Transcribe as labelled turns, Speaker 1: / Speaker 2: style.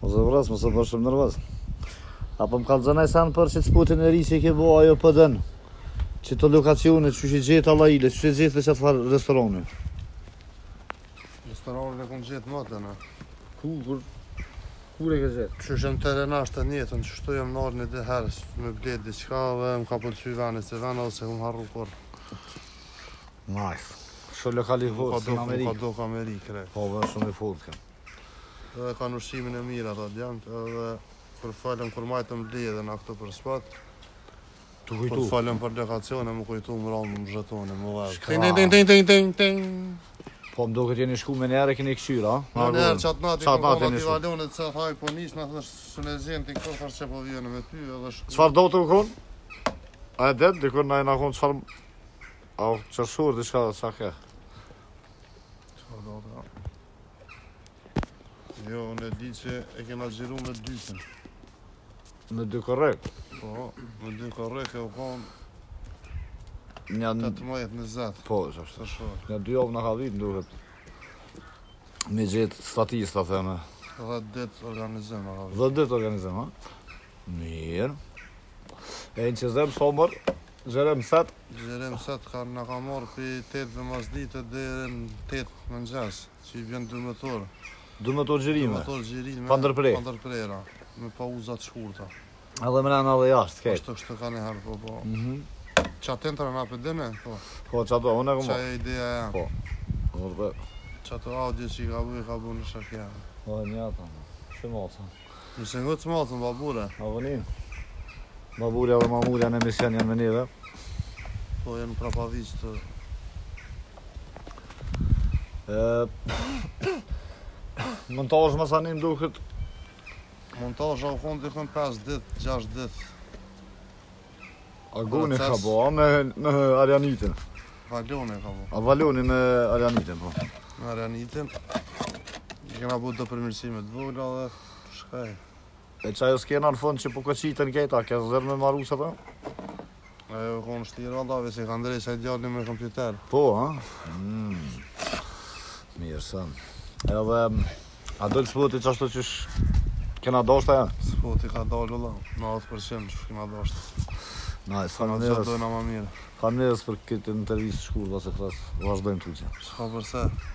Speaker 1: Mos e vras, mos e bësh shumë nervoz. Apo më kallzonaj sa në për që të sputin e ri që i ke bo ajo pëdën. Që të lokacionet, që që gjithë alla ile, që që gjithë dhe që të farë restorani.
Speaker 2: Restoranin e kom gjetë matë në.
Speaker 1: Ku, kur, kur e ke gjithë?
Speaker 2: Që shem të renash të njëtën, që shtu jem nërë një dhe herës, me bledë diçka dhe më ka pëlqy vene se vene ose më harru kur.
Speaker 1: Nice. Shë lokali
Speaker 2: Më ka
Speaker 1: hotë, në
Speaker 2: do, më ka
Speaker 1: Amerikë.
Speaker 2: do ka Amerikë, re.
Speaker 1: Po, vë shumë i fotë kënë.
Speaker 2: Edhe ka nushimin e mirë ata djemët, edhe kur falem, kur majtëm bledhe në këto për spat,
Speaker 1: Tu
Speaker 2: kur
Speaker 1: kujtu.
Speaker 2: falem për lokacione, më kujtu më ramë, më zhetone, më vajtë.
Speaker 1: Shkra.
Speaker 2: Ting, ting, ting, ting, ting, ting, ting.
Speaker 1: Po, më do këtë jeni shku me njerë e keni këqyra, a?
Speaker 2: Në nërë qatë nati,
Speaker 1: Qatë natë
Speaker 2: kom koma
Speaker 1: jeni
Speaker 2: t'i
Speaker 1: shku.
Speaker 2: valonit, se thaj po nisë, në thësh, së në zjenë, t'i kërë që po vjenë me ty, edhe shtu.
Speaker 1: Qfar do të ukon? A e det, dikur na e na kon qfar... A u qërshur, diçka dhe qa ke?
Speaker 2: Po, do, do. Jo, unë e di që e kena gjiru me dyqen.
Speaker 1: Në dy korrekt.
Speaker 2: Po, me dy korrek e u konë
Speaker 1: Një...
Speaker 2: 18 në zetë.
Speaker 1: Po, që është.
Speaker 2: Të shorë.
Speaker 1: Një dy avë në ka vitë, duhet. Me gjithë statista, theme.
Speaker 2: Edhe ditë organizim, a
Speaker 1: Dhe dytë organizim, ha? Mirë. E në që zemë somër, gjerem set,
Speaker 2: Gjerim set ka në ka morë për 8 dhe mas ditë dhe në 8 më nxes, që i vjen 12 orë.
Speaker 1: du me të gjirime.
Speaker 2: 12 orë gjirime,
Speaker 1: Pa ndërprer.
Speaker 2: pa ndërprera, me pauzat shkurta.
Speaker 1: Edhe mrena edhe jashtë, kejtë.
Speaker 2: Kështë të kështë ka një herë, po, po.
Speaker 1: Mhm.
Speaker 2: Qa të në apë dene, po,
Speaker 1: Po, që ato, unë e këmë.
Speaker 2: qa e ideja e
Speaker 1: Po.
Speaker 2: jam.
Speaker 1: Vërte.
Speaker 2: Qa të audio që i ka bu, i ka bu në shakja.
Speaker 1: O, një ata. Që mosë.
Speaker 2: Nëse ngëtë të matën, babure,
Speaker 1: Avonin. Babulja dhe mamulja në emision janë me neve.
Speaker 2: po jenë prapavish të
Speaker 1: E, Montazh më sa nim duket
Speaker 2: Montazha u konë dikën 5 ditë, 6 ditë.
Speaker 1: Agoni
Speaker 2: Proces.
Speaker 1: ka bo, a me, me Arianitin
Speaker 2: Valone ka bu.
Speaker 1: A Valoni me Arianitin po
Speaker 2: Në Ranitin. I kena bu do përmirësime të vogla dhe shkaj.
Speaker 1: E që ajo skena në fund që po këqitën kejta, ke zërë me maru se ta?
Speaker 2: Ajo u konë shtirë allave se i ka ndrejë se djallin me kompjuter.
Speaker 1: Po, ha? Mm. Mirë, sëm Edhe, m, a dojtë sputi që ashtu që sh... Kena doshta ja?
Speaker 2: S'po ti ka dalë ulla, në atë përshim që kena dashtë.
Speaker 1: Nice,
Speaker 2: Në
Speaker 1: falim
Speaker 2: që
Speaker 1: njerës
Speaker 2: dojnë ama mirë.
Speaker 1: Falim njerës për këtë intervjist shkurë dhe se kras Vazhdojmë të që
Speaker 2: Shka përse.